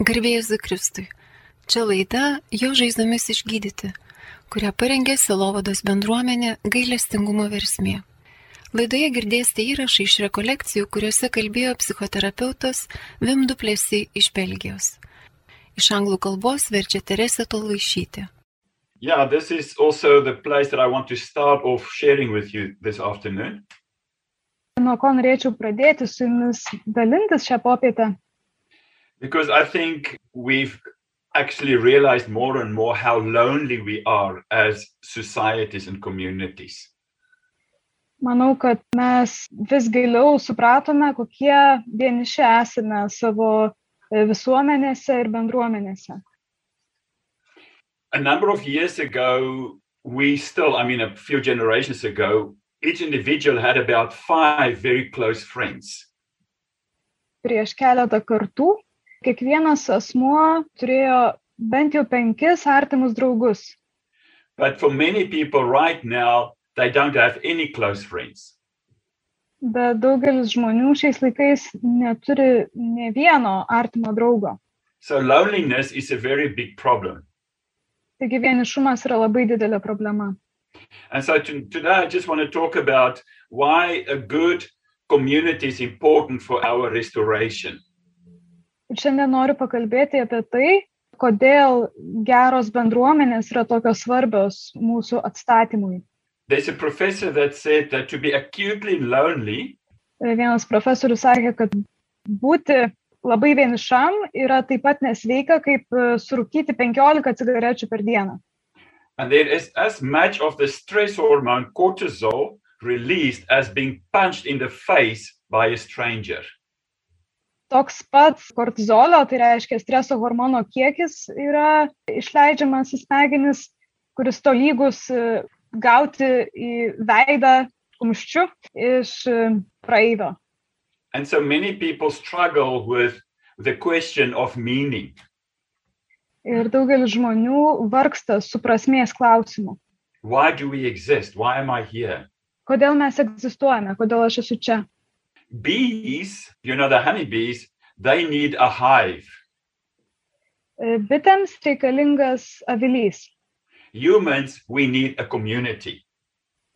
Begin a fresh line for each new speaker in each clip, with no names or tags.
Garbėjus Zikristui. Čia laida Jo žaizdomis išgydyti, kurią parengė Silovados bendruomenė gailestingumo versmė. Laidoje girdėsite įrašą iš rekolekcijų, kuriuose kalbėjo psichoterapeutas Vim Duplėsi iš Belgijos. Iš anglų kalbos verčia Teresė Tolvaišytė.
Yeah, this is also the place that I want to start off sharing with you this afternoon.
Nuo ko norėčiau pradėti su jumis dalintis šią popietę?
because I think we've actually realized more and more how lonely we are as societies and communities.
Manau, kad mes vis gailiau supratome, kokie vieniši esame savo e, visuomenėse ir bendruomenėse.
A number of years ago, we still, I mean, a few generations ago, each individual had about five very close friends.
Prieš keletą kartų kiekvienas asmuo turėjo bent jau penkis artimus draugus,
But for many people right now, they don't have any close friends.
bet daugelis žmonių šiais laikais neturi ne vieno artimo draugo.
So loneliness is a very big problem.
Taigi vienišumas yra labai didelė problema.
And so to, today, I just want to talk about why a good community is important for our restoration.
Ir šiandien noriu pakalbėti apie tai, kodėl geros bendruomenės yra tokios svarbios mūsų atstatymui.
There's a professor that said that to be acutely lonely
Vienas profesorius sakė, kad būti labai vienišam yra taip pat nesveika, kaip e, surūkyti 15 cigarečių per dieną.
and there is as much of the stress hormone cortisol released as being punched in the face by a stranger.
Toks pats kortizolio, tai reiškia streso hormono kiekis, yra išleidžiamas į smegenis, kuris tolygus e, gauti į veidą kumščiu iš e, praeivio.
And so many people struggle with the question of meaning.
Ir daugelis žmonių vargsta su prasmės klausimu.
Why do we exist? Why am I here?
Kodėl mes egzistuojame, kodėl aš esu čia?
Bees, you know, the honeybees, they need a hive.
E, Bitėms reikalingas avilys,
Humans, we need a community.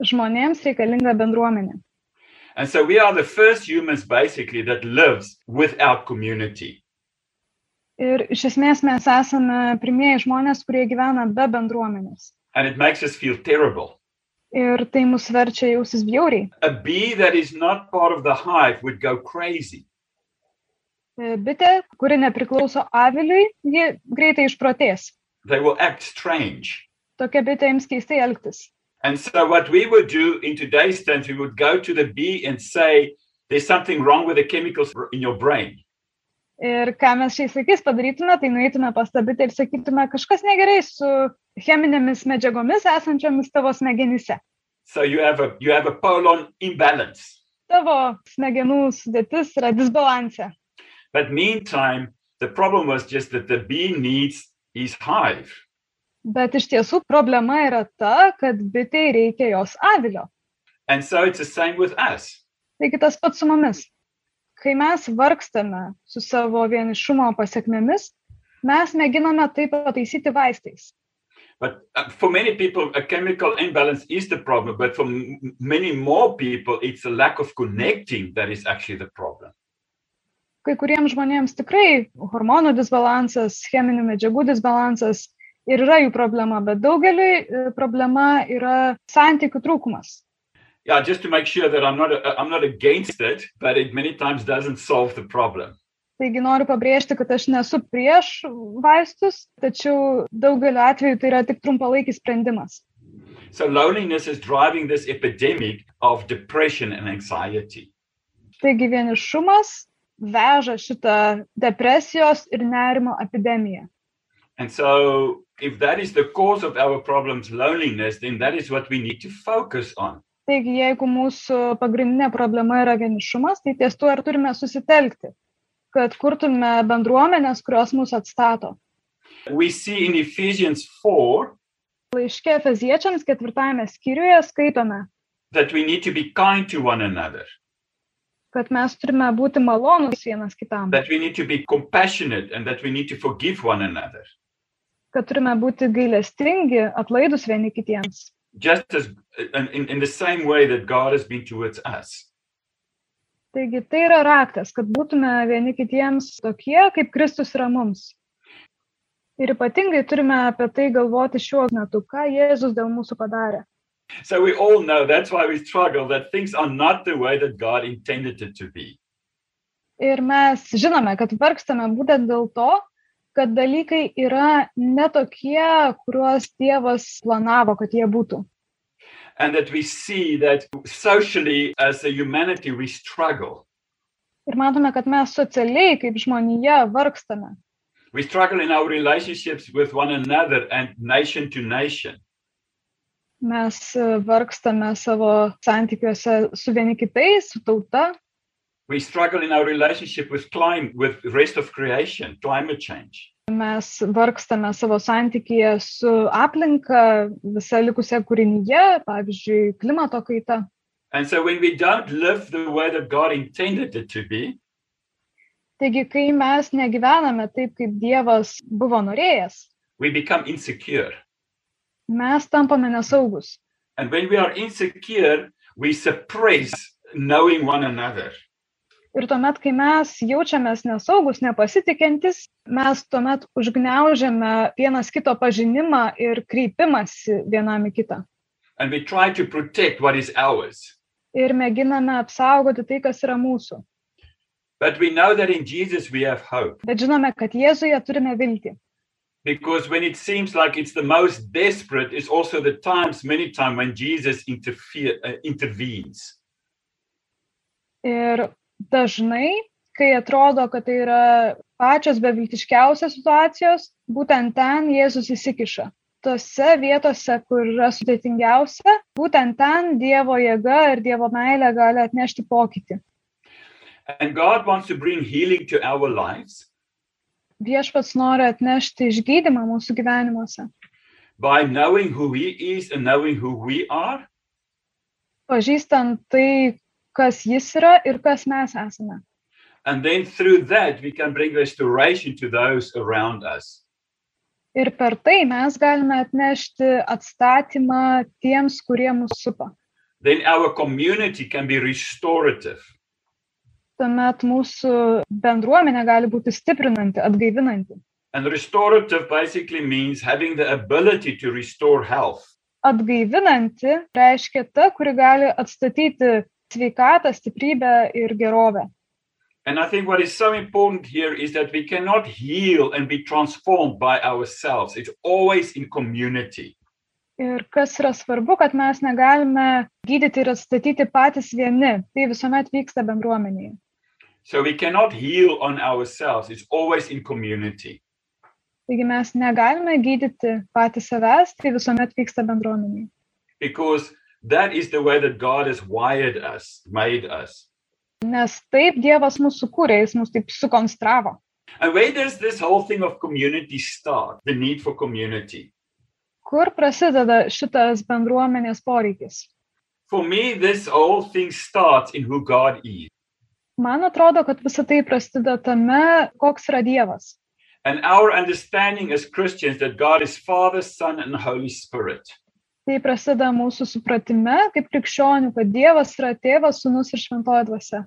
žmonėms reikalinga bendruomenė.
And so we are the first humans basically that lives without community.
Ir iš esmės mes esame pirmieji žmonės, kurie gyvena be bendruomenės.
And it makes us feel terrible.
Ir tai mus verčia jausis bjauriai.
a bee that is not part of the hive would go crazy.
E, Bitė, kuri nepriklauso aviliui, ji greitai išprotės.
They will act strange.
Tokia bitė jums keistai elgtis.
And so, what we would do in today's terms, we would go to the bee and say, There's something wrong with the chemicals in your brain.
Ir ką mes šiais laikais padarytume, tai nueitume pas tą bitę ir sakytume, kažkas negerai su cheminėmis medžiagomis esančiomis tavo smegenyse.
So, you have a, you have a polon imbalance.
Tavo smegenų sudėtis yra disbalanse.
But meantime, the problem was just that the bee needs his hive.
Bet iš tiesų problema yra ta, kad bitei reikia jos avilio.
And so, it's the same with us.
Taigi tas pats su mumis. Kai mes vargstame su savo vienišumo pasiekmėmis, mes mėginame tai pataisyti vaistais.
But uh, for many people, a chemical imbalance is the problem. But for m- many more people, it's a lack of connecting that is actually the problem.
kai kuriems žmonėms tikrai hormonų disbalansas, cheminių medžiagų disbalansas ir yra jų problema, bet daugeliui e, problema yra santykių trūkumas.
yeah just to make sure that i'm not i i'm not against it but it many times doesn't solve the problem
Taigi noriu pabrėžti, kad aš nesu prieš vaistus, tačiau daugeliu atveju tai yra tik trumpalaikis sprendimas.
so loneliness is driving this epidemic of depression and anxiety
Taigi vienišumas veža šitą depresijos ir nerimo epidemiją.
and so if that is the cause of our problems loneliness then that is what we need to focus on
Taigi jeigu mūsų pagrindinė problema yra vienišumas, tai ties tuo ir turime susitelkti, kad kurtume bendruomenės, kurios mūsų atstato.
we see in ephesians 4
Laiške Feziečiams ketvirtajame skyriuje skaitome,
that we need to be kind to one another
kad mes turime būti malonus vienas kitam,
that we need to be compassionate and that we need to forgive one another.
kad turime būti gailestingi, atlaidus vieni kitiems.
Just as in, in in the same way that God has been towards us.
Taigi tai yra raktas, kad būtume vieni kitiems tokie, kaip Kristus yra mums. Ir ypatingai turime apie tai galvoti šiuo metu, ką Jėzus dėl mūsų padarė.
So we all know that's why we struggle that things are not the way that God intended it to be.
Ir mes žinome, kad vargstame būtent dėl to, kad dalykai yra netokie, kuriuos Dievas planavo, kad jie būtų.
And that we see that socially, as a humanity, we struggle.
Ir matome, kad mes socialiai kaip žmonija vargstame.
We struggle in our relationships with one another and nation to nation.
Mes e, vargstame savo santykiuose su vieni kitais, su tauta,
We struggle in our relationship with climate, with the rest of creation, climate change.
mes vargstame savo santykėje su aplinka, visa likusia kūrinyje, pavyzdžiui, klimato kaita.
And so when we don't live the way that God intended it to be,
Taigi, kai mes negyvename taip, kaip Dievas buvo norėjęs,
we become insecure.
mes tampame nesaugus.
And when we are insecure, we suppress knowing one another.
Ir tuomet, kai mes jaučiamės nesaugus, nepasitikintis, mes tuomet užgneužiame vienas kito pažinimą ir kreipimąsi vienam į kitą.
And we try to protect what is ours.
Ir mėginame apsaugoti tai, kas yra mūsų.
But we know that in Jesus we have hope
Bet žinome, kad Jėzuje turime viltį.
because when it seems like it's the most desperate, is also the times, many times, when Jesus interfere, uh, intervenes.
Ir dažnai, kai atrodo, kad tai yra pačios beviltiškiausios situacijos, būtent ten Jėzus įsikiša. Tose vietose, kur yra sudėtingiausia, būtent ten Dievo jėga ir Dievo meilė gali atnešti pokytį.
And God wants to bring healing to our lives
Viešpats nori atnešti išgydymą mūsų gyvenimuose,
by knowing who He is and knowing who we are,
pažįstant tai, kas jis yra ir kas mes esame.
and then through that we can bring restoration to those around us.
Ir per tai mes galime atnešti atstatymą tiems, kurie mūsų supa.
Then our community can be restorative.
Tuomet mūsų bendruomenė gali būti stiprinanti, atgaivinanti.
And restorative basically means having the ability to restore health.
Atgaivinanti reiškia ta, kuri gali atstatyti sveikatą, stiprybę ir gerovę.
And I think what is so important here is that we cannot heal and be transformed by ourselves. It's always in community.
Ir kas yra svarbu, kad mes negalime gydyti ir atstatyti patys vieni. Tai visuomet vyksta bendruomenėje.
So we cannot heal on ourselves. It's always in community.
Taigi mes negalime gydyti patys savęs, tai visuomet vyksta bendruomeniai.
because that is the way that God has wired us, made us.
Nes taip Dievas mūsų kūrė, jis mus taip sukonstravo.
And where does this whole thing of community start? The need for community.
Kur prasideda šitas bendruomenės poreikis?
For me, this whole thing starts in who God is.
Man atrodo, kad visą tai prasideda tame, koks yra Dievas.
And our understanding as Christians that God is Father, Son, and Holy Spirit.
Tai prasideda mūsų supratime kaip krikščionių, kad Dievas yra tėvas, sunus ir šventoji dvasia.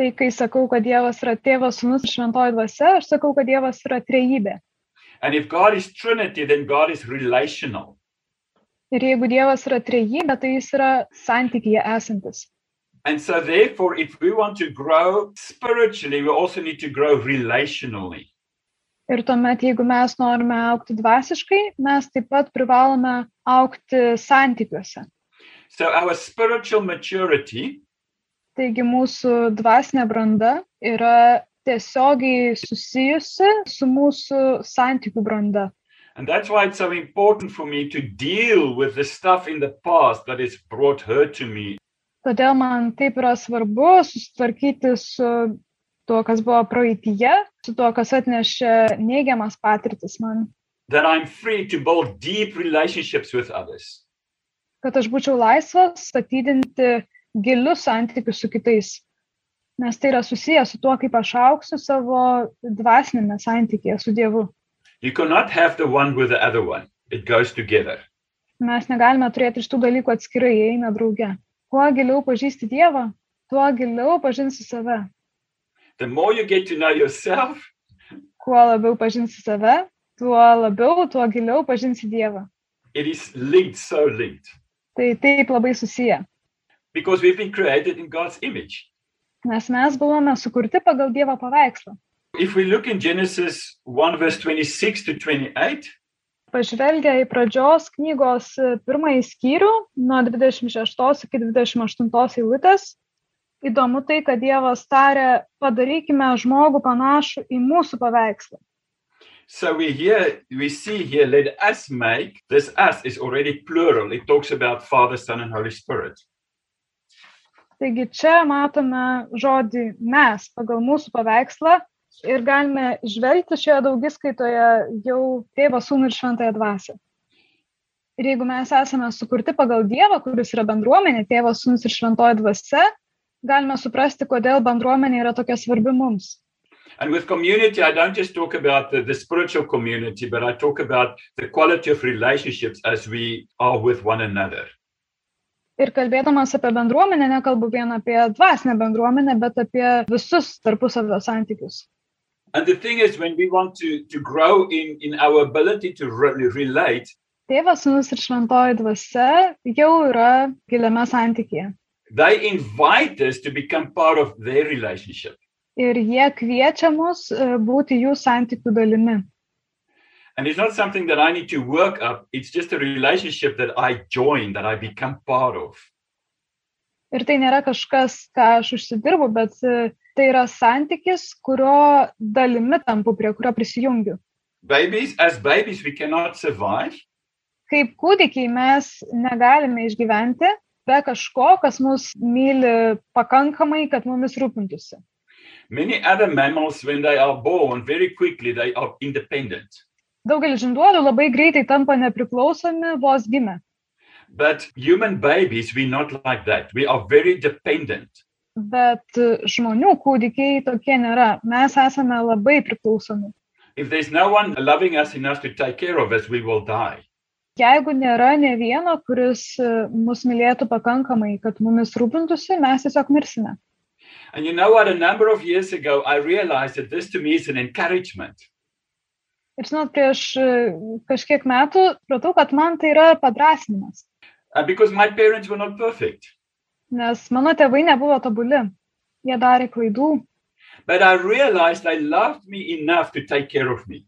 Tai kai sakau, kad Dievas yra tėvas, sunus ir šventoji dvasia, aš sakau, kad Dievas yra trejybė.
And if God is Trinity, then God is relational.
Ir jeigu Dievas yra trejybė, tai jis yra santykyje esantis.
And so, therefore, if we want to grow spiritually, we also need to grow relationally.
Ir tuomet, jeigu mes norime aukti dvasiškai, mes taip pat privalome aukti santykiuose.
So, our spiritual maturity
Taigi mūsų dvasinė branda yra tiesiogiai susijusi su mūsų santykių branda.
And that's why it's so important for me to deal with the stuff in the past that has brought hurt to me.
Todėl man taip yra svarbu susitvarkyti su tuo, kas buvo praeitie, su tuo, kas atnešė neigiamas patirtis man,
That I'm free to build deep relationships with others.
kad aš būčiau laisvas statydinti gilius santykius su kitais. nes tai yra susijęs su tuo, kaip aš auksiu savo dvasinėme santykėje su Dievu.
You cannot have the one with the other one, it goes together.
Mes negalime turėti iš tų dalykų atskirai, jie eina drauge. Kuo giliau pažįsti Dievą, tuo giliau pažinsi save.
The more you get to know yourself,
Kuo labiau pažinsi save, tuo labiau, tuo giliau pažinsi Dievą.
it is linked, so linked,
Tai taip labai susiję,
because we've been created in God's image.
nes mes buvome sukurti pagal Dievo paveikslą.
If we look in Genesis 1, verse 26 to 28,
Pažvelgia į pradžios knygos e, pirmąjį skyrių nuo 26 iki 28 eilutės. Įdomu tai, kad Dievas tarė, padarykime žmogų panašų į mūsų paveikslą.
so we hear, we see here, let us make this us is already plural. It talks about Father, Son, and Holy Spirit.
Taigi čia matome žodį mes pagal mūsų paveikslą ir galime žvelgti šioje daugiskaitoje jau tėvą sūnų ir šventąją dvasę. Ir jeigu mes esame sukurti pagal Dievą, kuris yra bendruomenė, tėvas sūnus ir šventoji dvasia, galime suprasti, kodėl bendruomenė yra tokia svarbi mums.
And with community, I don't just talk about the, the spiritual community, but I talk about the quality of relationships as we are with one another.
Ir kalbėdamas apie bendruomenę, nekalbu vien apie dvasinę bendruomenę, bet apie visus tarpusavio santykius.
And the thing is, when we want to, to grow in, in our ability to re- relate,
Tėvas, sūnus ir šventoji dvasia jau yra giliame santykėje.
they invite us to become part of their relationship.
ir jie kviečia mus e, būti jų santykių dalimi.
And it's not something that I need to work up, it's just a relationship that I join, that I become part of.
Ir tai nėra kažkas, ką aš užsidirbu, bet e, tai yra santykis, kurio dalimi tampu, prie kurio prisijungiu.
Babies, as babies, we cannot survive.
Kaip kūdikiai mes negalime išgyventi be kažko, kas mus myli pakankamai, kad mumis rūpintųsi.
Many other mammals, when they are born, very quickly they are independent.
Daugelis žinduolių labai greitai tampa nepriklausomi vos gimę.
But human babies, we're not like that. We are very dependent.
Bet e, žmonių kūdikiai tokie nėra. Mes esame labai priklausomi.
If there's no one loving us enough to take care of us, we will die.
jeigu nėra ne vieno, kuris e, mus mylėtų pakankamai, kad mumis rūpintųsi, mes tiesiog mirsime.
And you know what? A number of years ago, I realized that this to me is an encouragement.
Ir žinot, prieš e, kažkiek metų pratau, kad man tai yra padrasinimas,
Uh, because my parents were not perfect.
nes mano tėvai nebuvo tobuli, jie darė klaidų,
But I realized they loved me enough to take care of me.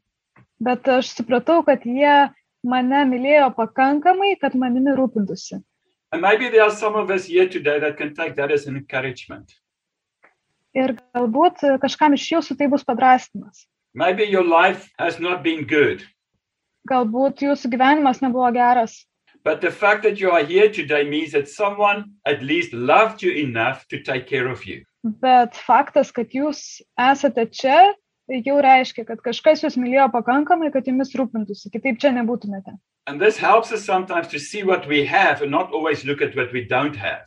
bet aš supratau, kad jie mane mylėjo pakankamai, kad manimi rūpintųsi.
And maybe there are some of us here today that can take that as an encouragement.
Ir galbūt e, kažkam iš jūsų tai bus padrasinimas.
Maybe your life has not been good,
Galbūt jūsų gyvenimas nebuvo geras,
but the fact that you are here today means that someone at least loved you enough to take care of you.
Bet faktas, kad jūs esate čia, jau reiškia, kad kažkas jūs mylėjo pakankamai, kad jumis rūpintųsi, kitaip čia nebūtumėte.
And this helps us sometimes to see what we have and not always look at what we don't have.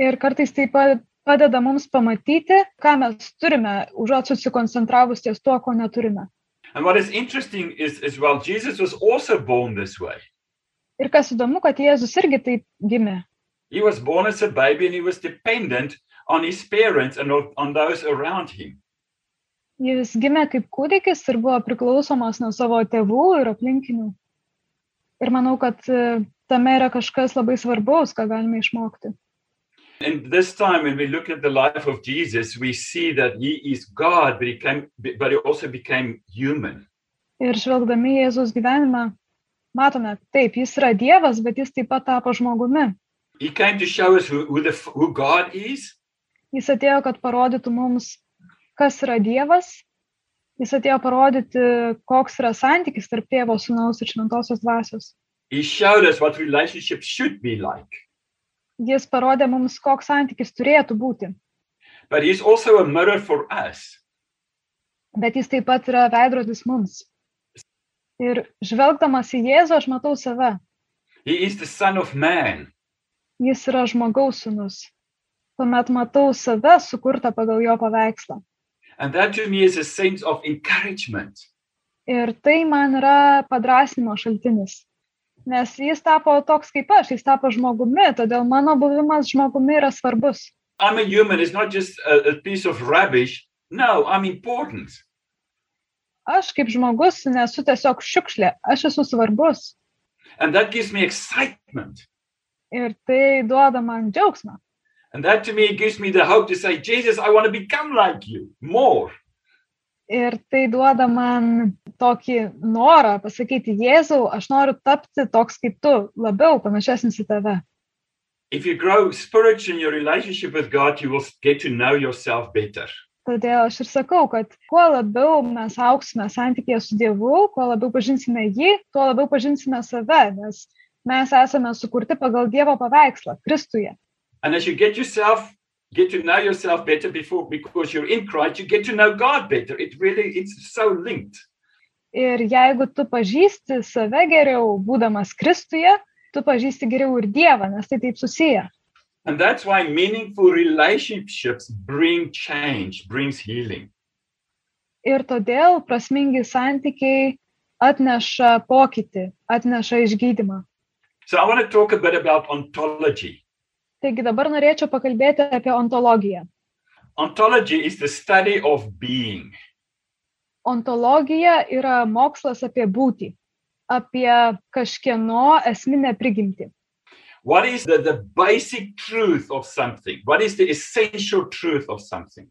Ir kartais tai pa- padeda mums pamatyti, ką mes turime, užuot susikoncentravus ties tuo, ko neturime.
And what is interesting is, as well, Jesus was also born this way.
Ir kas įdomu, kad Jėzus irgi taip gimė.
He was born as a baby and he was dependent on his parents and on on those around him.
Jis gimė kaip kūdikis ir buvo priklausomas nuo savo tėvų ir aplinkinių. Ir manau, kad e, tame yra kažkas labai svarbaus, ką galime išmokti.
And this time, when we look at the life of Jesus, we see that he is God, but he, came, but he also became human.
Ir žvelgdami į Jėzus gyvenimą, matome, taip, jis yra Dievas, bet jis taip pat tapo žmogumi.
He came to show us who, who, the, f- who God is,
Jis atėjo, kad parodytų mums, kas yra Dievas. Jis atėjo parodyti, koks yra santykis tarp tėvo, sunaus ir šventosios dvasios.
he showed us what relationships should be like.
Jis parodė mums, koks santykis turėtų būti.
But he's also a mirror for us.
Bet jis taip pat yra veidrodis mums. Ir žvelgdamas į Jėzų, aš matau save.
He is the Son of Man.
Jis yra žmogaus sunus. tuomet matau save sukurtą pagal jo paveikslą.
And that to me is a sense of encouragement.
Ir tai man yra padrasnimo šaltinis. Nes jis tapo toks kaip aš, jis tapo žmogumi, todėl mano buvimas žmogumi yra svarbus.
I'm a human, it's not just a, a piece of rubbish. No, I'm important.
Aš kaip žmogus nesu tiesiog šiukšlė, aš esu svarbus.
And that gives me excitement.
Ir tai duoda man džiaugsmą.
And that to me gives me the hope to say, Jesus, I want to become like you more.
Ir tai duoda man tokį norą pasakyti, Jėzau, aš noriu tapti toks kaip tu, labiau panašesnis į tave.
If you grow spiritually in your relationship with God, you will get to know yourself better.
Todėl aš ir sakau, kad kuo labiau mes auksime santykėje su Dievu, kuo labiau pažinsime jį, tuo labiau pažinsime save, nes mes esame sukurti pagal Dievo paveikslą, Kristuje.
And as you get yourself, get to know yourself better before because you're in Christ, you get to know God better. It really it's so linked.
Ir jeigu tu pažįsti save geriau, būdamas Kristuje, tu pažįsti geriau ir Dievą, nes tai taip susiję.
And that's why meaningful relationships bring change, brings healing.
Ir todėl prasmingi santykiai atneša pokytį, atneša išgydymą.
So I want to talk a bit about ontology.
Taigi dabar norėčiau pakalbėti apie ontologiją.
Ontology is the study of being.
Ontologija yra mokslas apie būtį, apie kažkieno esminę prigimtį.
What is the, the basic truth of something? What is the essential truth of something?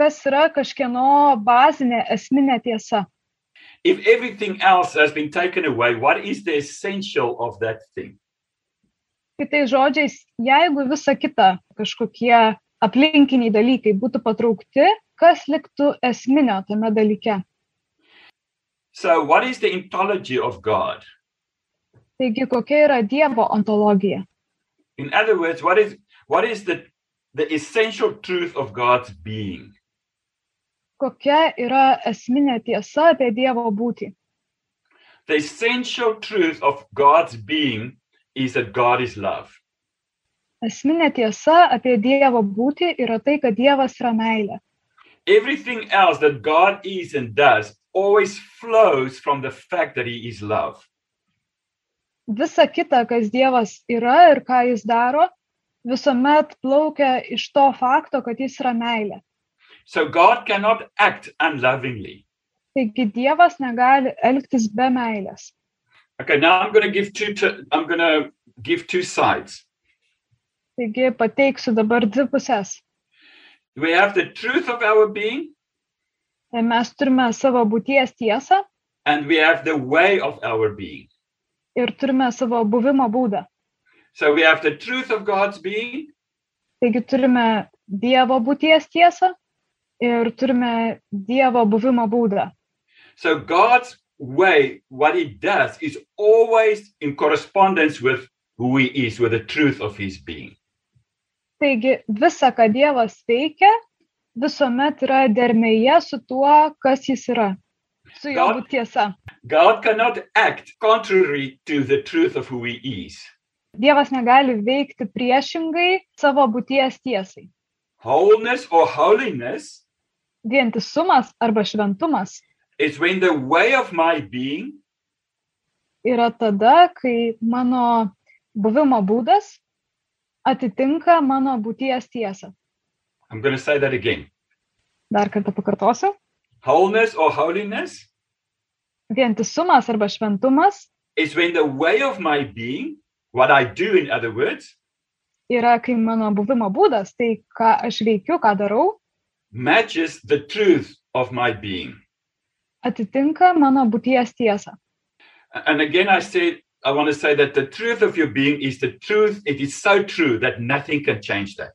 Kas yra kažkieno bazinė esminė tiesa?
If everything else has been taken away, what is the essential of that thing?
Kitais žodžiais, jeigu visa kita kažkokie aplinkiniai dalykai būtų patraukti, kas liktų esminio tame dalyke?
So, what is the ontology of God?
Taigi, kokia yra Dievo ontologija?
In other words, what is what is the the essential truth of God's being?
Kokia yra esminė tiesa apie Dievo būtį?
The essential truth of God's being is that God is love.
Esminė tiesa apie Dievo būtį yra tai, kad Dievas yra meilė.
Everything else that God is and does always flows from the fact that He is love.
Visa kita, kas Dievas yra ir ką jis daro, visuomet plaukia iš to fakto, kad jis yra meilė.
So God cannot act unlovingly.
Taigi Dievas negali elgtis be meilės.
Okay, now I'm going to give two. T- I'm going to give two sides.
Taigi pateiksiu dabar dvi pusės.
We have the truth of our being,
Mes turime savo būties tiesą
and we have the way of our being.
ir turime savo buvimo būdą.
So we have the truth of God's being,
Taigi turime Dievo būties tiesą ir turime Dievo buvimo būdą.
So God's way, what he does, is always in correspondence with who he is, with the truth of his being.
Taigi visa, ką Dievas veikia, visuomet yra dermėje su tuo, kas jis yra, su jo
Gal-
būtiesa.
God cannot act contrary to the truth of who he is.
Dievas negali veikti priešingai savo būties tiesai.
Wholeness or holiness
Vientisumas arba šventumas
is when the way of my being
yra tada, kai mano buvimo būdas atitinka mano būties tiesą.
I'm going to say that again.
Dar kartą pakartosiu.
Wholeness or holiness
Vientisumas arba šventumas
is when the way of my being, what I do, in other words,
yra, kai mano buvimo būdas, tai ką aš veikiu, ką darau,
matches the truth of my being.
atitinka mano būties tiesą.
And again, I said, I want to say that the truth of your being is the truth. It is so true that nothing can change that.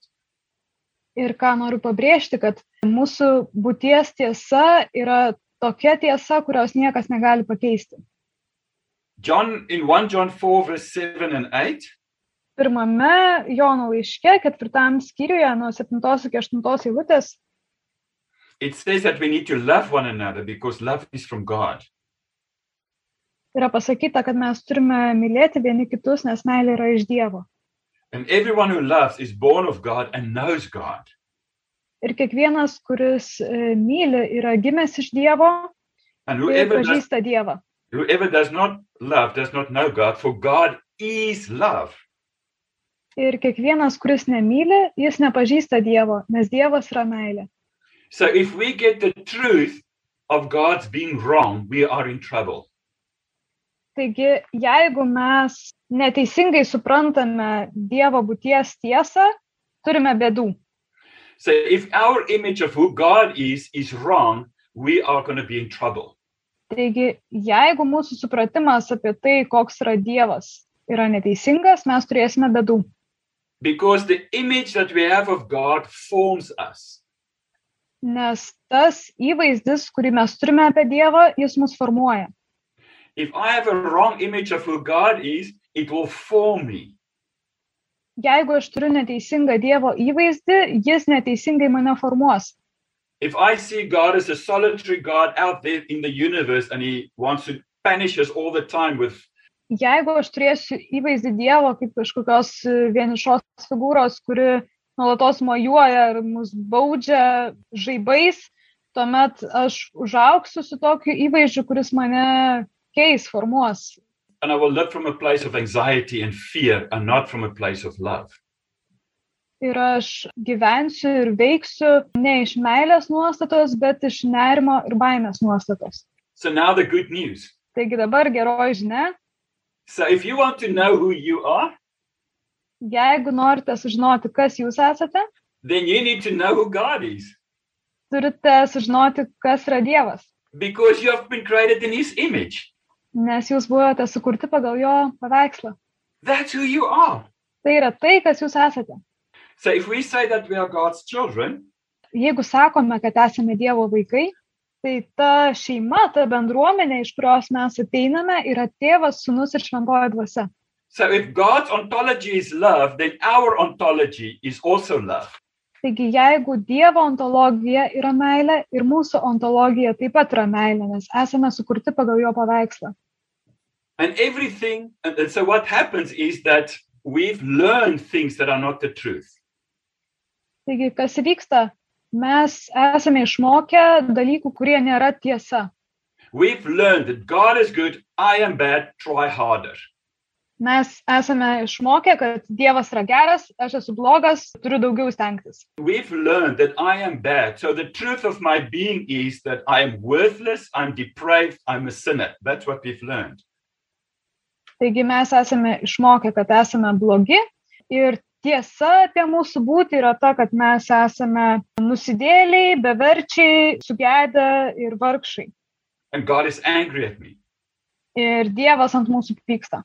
Ir ką noriu pabrėžti, kad mūsų būties tiesa yra tokia tiesa, kurios niekas negali pakeisti.
John, in 1 John 4, verse 7 and 8,
Pirmame Jono laiške, ketvirtam skyriuje, nuo 7 iki 8 eilutės,
it says that we need to love one another because love is from God.
yra pasakyta, kad mes turime mylėti vieni kitus, nes meilė yra iš Dievo.
And everyone who loves is born of God and knows God.
Ir kiekvienas, kuris e, myli, yra gimęs iš Dievo
And
ir
whoever does,
pažįsta Dievą.
whoever does not love does not know God, for God is love.
Ir kiekvienas, kuris nemyli, jis nepažįsta Dievo, nes Dievas yra meilė.
So if we get the truth of God's being wrong, we are in trouble.
Taigi, jeigu mes neteisingai suprantame Dievo būties tiesą, turime bėdų.
So if our image of who God is is wrong, we are going to be in trouble.
Taigi, jeigu mūsų supratimas apie tai, koks yra Dievas, yra neteisingas, mes turėsime bėdų.
Because the image that we have of God forms us.
Nes tas įvaizdis, kurį mes turime apie Dievą, jis mus formuoja.
If I have a wrong image of who God is, it will form me.
Jeigu aš turiu neteisingą Dievo įvaizdį, jis neteisingai mane formuos.
If I see God as a solitary God out there in the universe and he wants to punish us all the time with
jeigu aš turėsiu įvaizdį Dievo kaip kažkokios e, vienišos figūros, kuri nuolatos mojuoja ir mus baudžia žaibais, tuomet aš užauksiu su tokiu įvaizdžiu, kuris mane keis, formuos.
and I will live from a place of anxiety and fear and not from a place of love.
Ir aš gyvensiu ir veiksiu ne iš meilės nuostatos, bet iš nerimo ir baimės nuostatos.
So now the good news.
Taigi dabar geroji žinia,
So if you want to know who you are,
jeigu norite sužinoti, kas jūs esate,
then you need to know who God is
turite sužinoti, kas yra Dievas.
because you have been created in his image.
nes jūs buvote sukurti pagal jo paveikslą.
That's who you are.
Tai yra tai, kas jūs esate.
So if we say that we are God's children,
Jeigu sakome, kad esame Dievo vaikai, tai ta šeima, ta bendruomenė, iš kurios mes ateiname, yra tėvas, sunus ir šventoji dvasia.
so if God's ontology is love, then our ontology is also love.
Taigi, jeigu Dievo ontologija yra meilė ir mūsų ontologija taip pat yra meilė, nes esame sukurti pagal jo paveikslą.
And everything, and and so what happens is that we've learned things that are not the truth.
Taigi, kas vyksta? Mes esame išmokę dalykų, kurie nėra tiesa.
We've learned that God is good, I am bad, try harder.
Mes esame išmokę, kad Dievas yra geras, aš esu blogas, turiu daugiau stengtis.
We've learned that I am bad. So the truth of my being is that I am worthless, I'm depraved, I'm a sinner. That's what we've learned.
Taigi mes esame išmokę, kad esame blogi ir tiesa apie mūsų būti yra ta, kad mes esame nusidėliai, beverčiai, sugedę ir vargšai.
And God is angry at me.
Ir Dievas ant mūsų pyksta.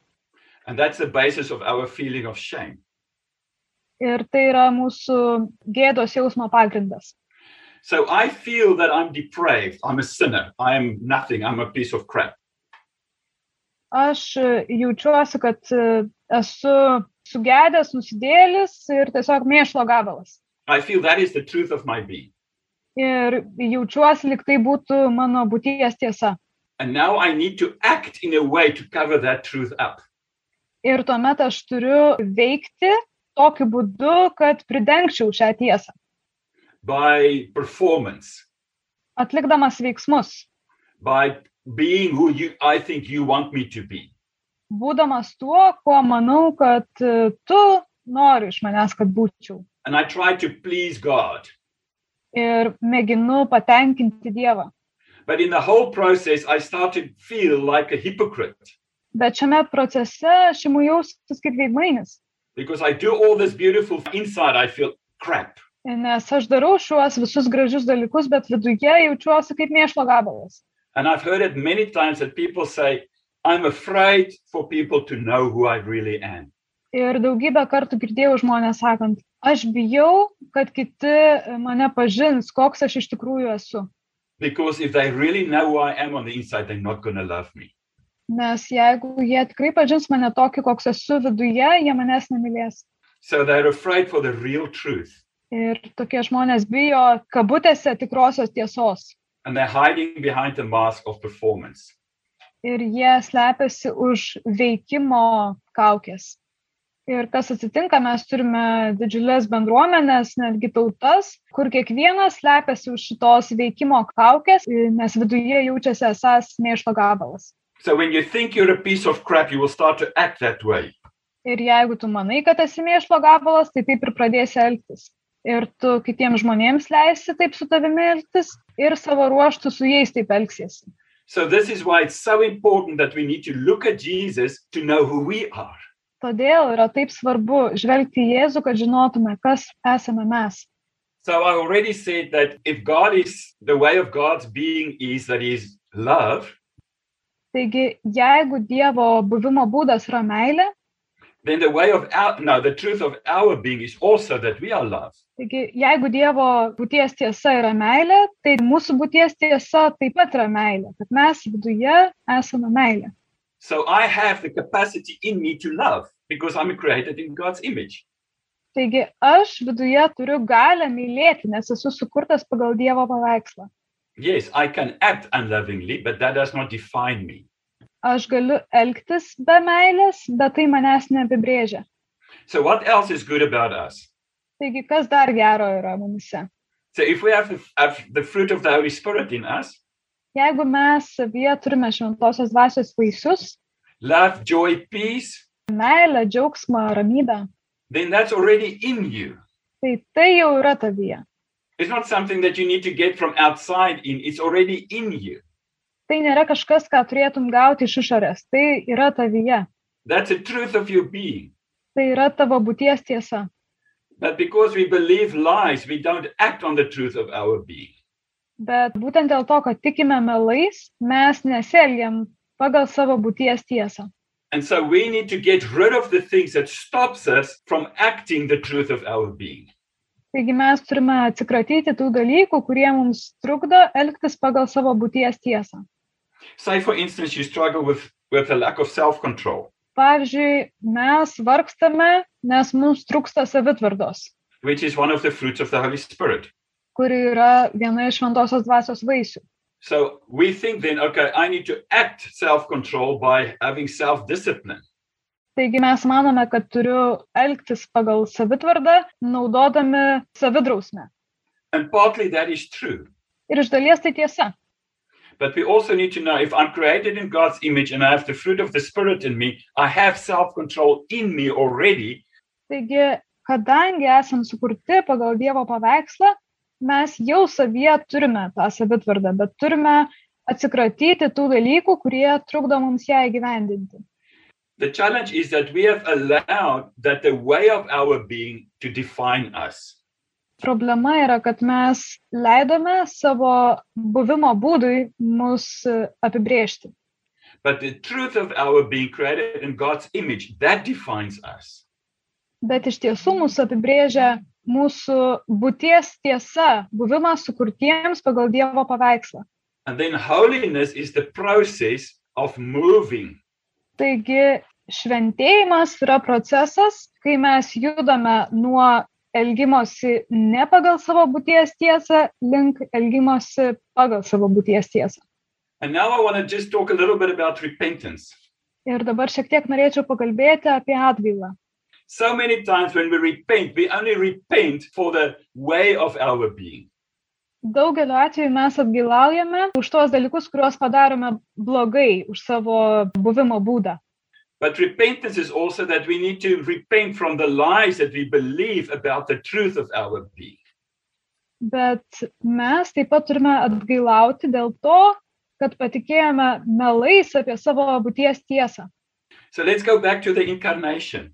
And that's the basis of our feeling of shame.
Ir tai yra mūsų gėdos jausmo pagrindas.
So I feel that I'm depraved, I'm a sinner, I am nothing, I'm a piece of crap.
Aš e, jaučiuosi, kad e, esu sugedęs, nusidėlis ir tiesiog mėšlo gabalas.
I feel that is the truth of my being.
ir jaučiuosi, lyg tai būtų mano būties tiesa.
And now I need to act in a way to cover that truth up.
Ir tuomet aš turiu veikti tokiu būdu, kad pridengčiau šią tiesą,
by performance,
atlikdamas veiksmus,
by being who you I think you want me to be.
būdamas tuo, kuo manau, kad e, tu nori iš manęs, kad būčiau.
And I try to please God.
Ir mėginu patenkinti Dievą.
But in the whole process, I start to feel like a hypocrite
Bet šiame procese aš imu jaustis kaip veidmainis,
because I do all this beautiful inside, I feel crap.
nes aš darau šiuos visus gražius dalykus, bet viduje jaučiuosi kaip mėšlo gabalas.
And I've heard it many times that people say, I'm afraid for people to know who I really am.
Ir daugybę kartų girdėjau žmonės sakant, aš bijau, kad kiti mane pažins, koks aš iš tikrųjų esu.
Because if they really know who I am on the inside, they're not going to love me.
Nes jeigu jie tikrai pažins mane tokį, koks esu viduje, jie manęs nemylės.
So they're afraid for the real truth.
Ir tokie žmonės bijo kabutėse tikrosios tiesos.
And they're hiding behind the mask of performance.
Ir jie slepiasi už veikimo kaukės. Ir kas atsitinka, mes turime didžiulės bendruomenės, netgi tautas, kur kiekvienas slepiasi už šitos veikimo kaukės, nes viduje jaučiasi esas mėšlo gabalas.
So when you think you're a piece of crap, you will start to act that way.
Ir jeigu tu manai, kad esi mėšlo gabalas, tai taip ir pradėsi elgtis. Ir tu kitiems žmonėms leisi taip su tavimi elgtis ir savo ruoštų su jais taip elgsiesi.
So this is why it's so important that we need to look at Jesus to know who we are.
Todėl yra taip svarbu žvelgti į Jėzų, kad žinotume, kas esame mes.
So I already said that if God is the way of God's being is that he's love,
Taigi, jeigu Dievo buvimo būdas yra meilė,
then the way of our no, the truth of our being is also that we are love.
taigi, jeigu Dievo būties tiesa yra meilė, tai mūsų būties tiesa taip pat yra meilė, kad mes viduje esame meilė.
So I have the capacity in me to love because I'm created in God's image.
Taigi, aš viduje turiu galę mylėti, nes esu sukurtas pagal Dievo paveikslą.
Yes, I can act unlovingly, but that does not define me.
Aš galiu elgtis be meilės, bet tai manęs neapibrėžia.
So what else is good about us?
Taigi, kas dar gero yra mumise?
So if we have the, have the fruit of the Holy Spirit in us,
Jeigu mes savyje turime šventosios dvasios vaisius,
love, joy, peace,
meilę, džiaugsmą, ramybę,
then that's already in you.
tai tai jau yra tavyje.
It's not something that you need to get from outside in, it's already in you.
Tai nėra kažkas, ką turėtum gauti iš išorės, tai yra tavyje,
That's the truth of your being.
tai yra tavo būties tiesa.
But because we believe lies, we don't act on the truth of our being.
Bet būtent dėl to, kad tikime melais, mes nesielgiam pagal savo būties tiesą.
And so we need to get rid of the things that stops us from acting the truth of our being.
Taigi mes turime atsikratyti tų dalykų, kurie mums trukdo elgtis pagal savo būties tiesą.
Say, for instance, you struggle with, with a lack of self control.
Pavyzdžiui, mes vargstame, nes mums trūksta savitvardos,
which is one of the fruits of the Holy Spirit.
kuri yra viena iš šventosios dvasios vaisių.
So we think then, okay, I need to act self control by having self discipline.
Taigi mes manome, kad turiu elgtis pagal savitvardą, naudodami savidrausmę.
And partly that is true.
Ir iš dalies tai tiesa.
But we also need to know if I'm created in God's image and I have the fruit of the Spirit in me, I have self control in me already.
Taigi, kadangi esam sukurti pagal Dievo paveikslą, mes jau savyje turime tą savitvardą, bet turime atsikratyti tų dalykų, kurie trukdo mums ją įgyvendinti.
The challenge is that we have allowed that the way of our being to define us.
Problema yra, kad mes leidome savo buvimo būdui mus e, apibrėžti.
But the truth of our being created in God's image, that defines us.
Bet iš tiesų mūsų apibrėžia mūsų būties tiesa, buvimas sukurtiems pagal Dievo paveikslą.
And then holiness is the process of moving
Taigi šventėjimas yra procesas, kai mes judame nuo elgimosi ne pagal savo būties tiesą link elgimosi pagal savo būties tiesą.
And now I want to just talk a little bit about repentance.
Ir dabar šiek tiek norėčiau pakalbėti apie atgailą.
So many times when we repent, we only repent for the way of our being.
Daugeliu atveju mes atgailaujame už tuos dalykus, kuriuos padarome blogai, už savo buvimo būdą.
But repentance is also that we need to repent from the lies that we believe about the truth of our being.
Bet mes taip pat turime atgailauti dėl to, kad patikėjome melais apie savo būties tiesą.
So let's go back to the incarnation.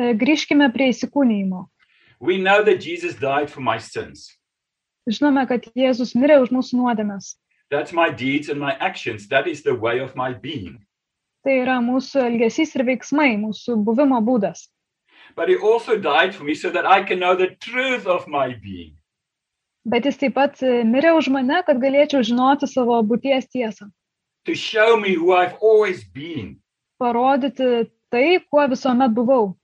E, Grįžkime prie įsikūnymo.
We know that Jesus died for my sins.
Žinome, kad Jėzus mirė už mūsų nuodėmes.
That's my deeds and my actions. That is the way of my being.
Tai yra mūsų elgesys ir veiksmai, mūsų buvimo būdas.
But he also died for me so that I can know the truth of my being.
Bet jis taip pat e, mirė už mane, kad galėčiau žinoti savo būties tiesą.
to show me who I've always been.
Parodyti tai, kuo visuomet buvau.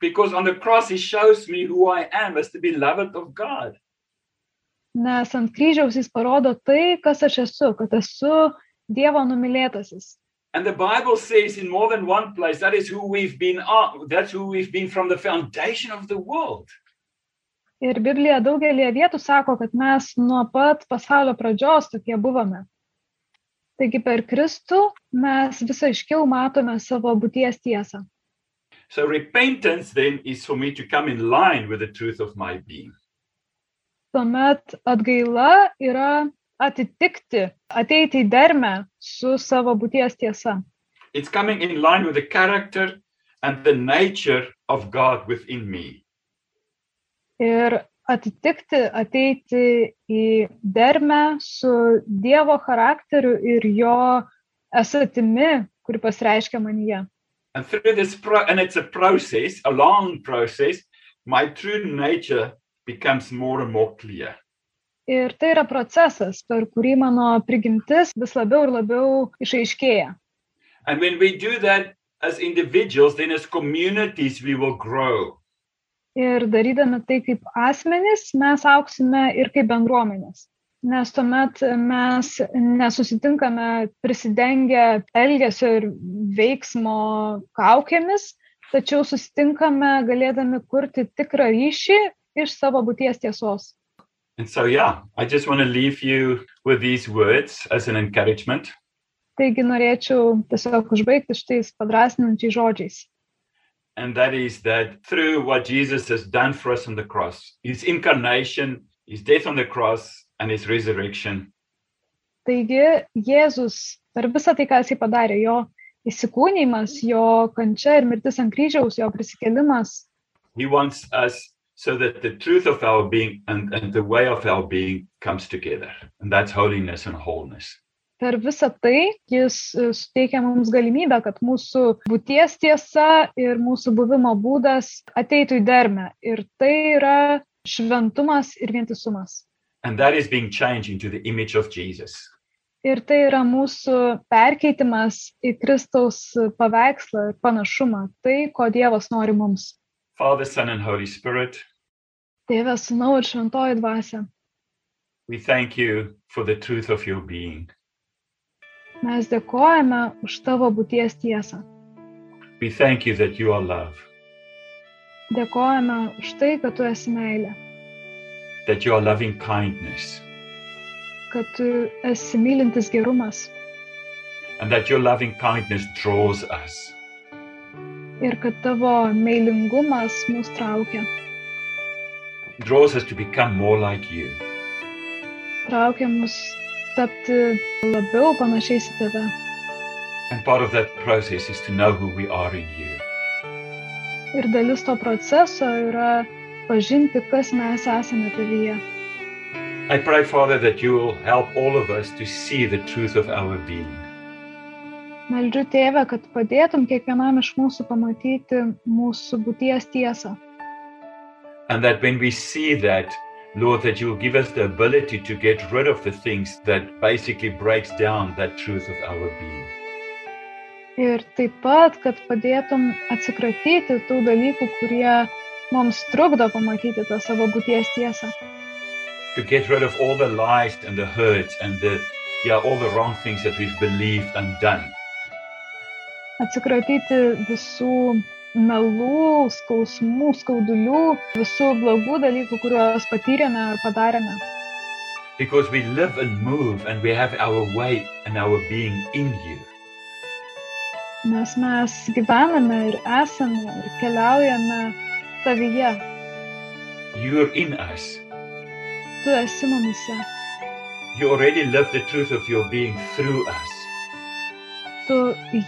Because on the cross, he shows me who I am as the beloved of God.
Nes ant kryžiaus jis parodo tai, kas aš esu, kad esu Dievo numylėtasis.
And the Bible says in more than one place that is who we've been are, that's who we've been from the foundation of the world.
Ir Biblija daugelį vietų sako, kad mes nuo pat pasaulio pradžios tokie buvome. Taigi per Kristų mes visą iškiau matome savo būties tiesą.
So repentance then is for me to come in line with the truth of my being.
Tuomet atgaila yra atitikti, ateiti į dermę su savo būties tiesa.
It's coming in line with the character and the nature of God within me.
Ir atitikti, ateiti į dermę su Dievo charakteriu ir jo esatimi, kuri pasireiškia manyje.
And through this pro- and it's a process, a long process, my true nature becomes more and more clear.
Ir tai yra procesas, per kurį mano prigimtis vis labiau ir labiau išaiškėja.
And when we do that as individuals, then as communities we will grow.
Ir darydami tai kaip asmenys, mes auksime ir kaip bendruomenės. Nes tuomet mes nesusitinkame prisidengę elgesio ir veiksmo kaukėmis, tačiau susitinkame galėdami kurti tikrą ryšį iš savo būties tiesos.
And so yeah, I just want to leave you with these words as an encouragement.
Taigi norėčiau tiesiog užbaigti šitais padrasinančiais žodžiais.
and that is that through what Jesus has done for us on the cross, his incarnation, his death on the cross, and his resurrection,
Taigi Jėzus per visą tai, ką jisai padarė, jo įsikūnymas, jo kančia ir mirtis ant kryžiaus, jo prisikelimas,
he wants us so that the truth of our being and, and the way of our being comes together. And that's holiness and wholeness.
per visą tai jis e, suteikia mums galimybę, kad mūsų būties tiesa ir mūsų buvimo būdas ateitų į dermę. Ir tai yra šventumas ir vientisumas.
And that is being changed into the image of Jesus.
Ir tai yra mūsų perkeitimas į Kristaus paveikslą ir panašumą, tai, ko Dievas nori mums.
Father, Son, and Holy Spirit,
Tėvės, Sūnau ir Šventoji Dvasia,
we thank you for the truth of your being.
mes dėkojame už tavo būties tiesą.
We thank you that you are love,
Dėkojame už tai, kad tu esi meilė,
that you are loving kindness,
kad tu esi mylintis gerumas
and that your loving kindness draws us.
ir kad tavo meilingumas mus traukia,
draws us to become more like you.
traukia mus tapti labiau panašiais į tave.
And part of that process is to know who we are in you.
Ir dalis to proceso yra pažinti, kas mes esame tavyje.
I pray, Father, that you will help all of us to see the truth of our being,
Meldžiu tėvę, kad padėtum kiekvienam iš mūsų pamatyti mūsų būties tiesą.
and that when we see that, Lord, that you will give us the ability to get rid of the things that basically breaks down that truth of our being.
Ir taip pat, kad padėtum atsikratyti tų dalykų, kurie mums trukdo pamatyti tą savo būties tiesą.
To get rid of all the lies and the hurts and the yeah, all the wrong things that we've believed and done.
Atsikratyti visų melų, skausmų, skaudulių, visų blogų dalykų, kuriuos patyrėme ar padarėme.
Because we live and move and we have our way and our being in you.
Nes mes gyvename ir esame ir keliaujame tavyje.
You're in us.
Tu esi mumise.
You already live the truth of your being through us.
Tu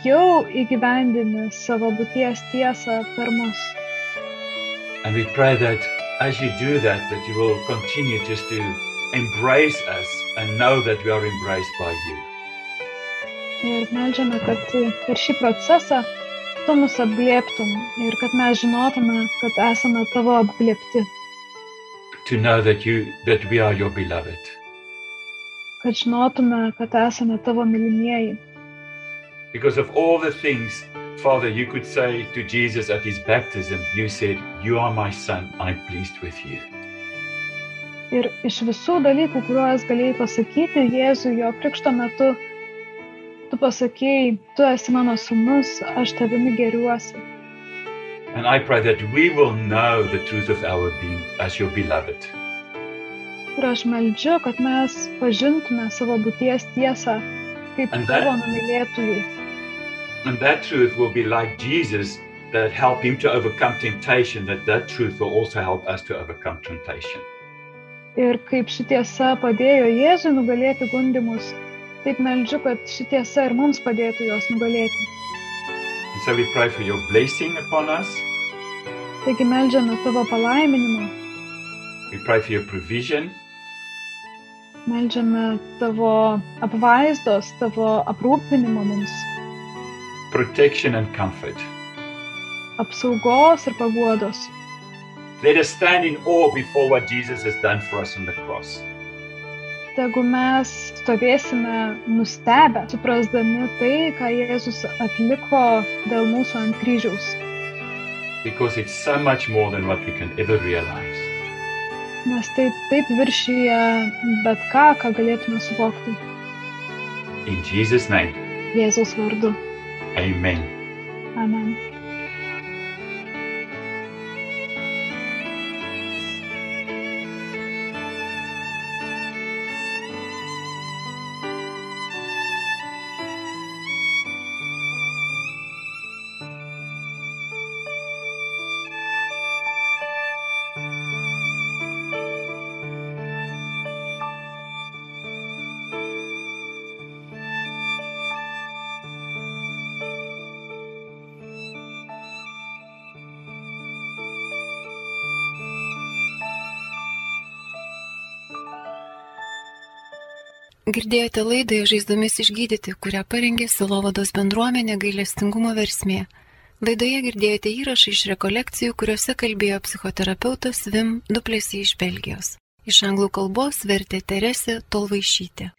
jau įgyvendini savo būties tiesą per mus.
And we pray that as you do that, that you will continue just to embrace us and know that we are embraced by you.
Ir melžiame, kad per šį procesą tu mus apglėptum ir kad mes žinotume, kad esame tavo apglėpti,
To know that you that we are your beloved.
kad žinotume, kad esame tavo mylimieji.
Because of all the things, Father, you could say to Jesus at his baptism, you said, You are my son, I'm pleased with you.
Ir iš visų dalykų, kuriuos galėjai pasakyti Jėzui jo krikšto metu, Tu pasakėjai, tu esi mano sunus, aš tavimi geriuosi.
And I pray that we will know the truth of our being as your beloved.
Ir aš meldžiu, kad mes pažintume savo būties tiesą kaip
Ant dar?
tavo numylėtųjų.
And that truth will be like Jesus that helped him to overcome temptation, that that truth will also help us to overcome temptation.
Ir kaip ši tiesa padėjo Jėzui nugalėti gundimus, taip meldžiu, kad ši tiesa ir mums padėtų juos nugalėti.
And so we pray for your blessing upon us.
Taigi meldžiame tavo palaiminimą,
We pray for your provision.
meldžiame tavo apvaizdos, tavo aprūpinimo mums,
protection and comfort.
apsaugos ir paguodos.
Let us stand in awe before what Jesus has done for us on the cross.
Tegu mes stovėsime nustebę, suprasdami tai, ką Jėzus atliko dėl mūsų ant kryžiaus,
Because it's so much more than what we can ever realize.
nes tai taip viršyje bet ką, ką galėtume suvokti
In Jesus' name,
Jėzaus vardu.
amen.
Amen.
Girdėjote laidą Žaizdomis išgydyti, kurią parengė Silovados bendruomenė gailestingumo versmė. Laidoje girdėjote įrašą iš rekolekcijų, kuriuose kalbėjo psichoterapeutas Vim Duplėsi iš Belgijos. Iš anglų kalbos vertė Teresė Tolvaišytė.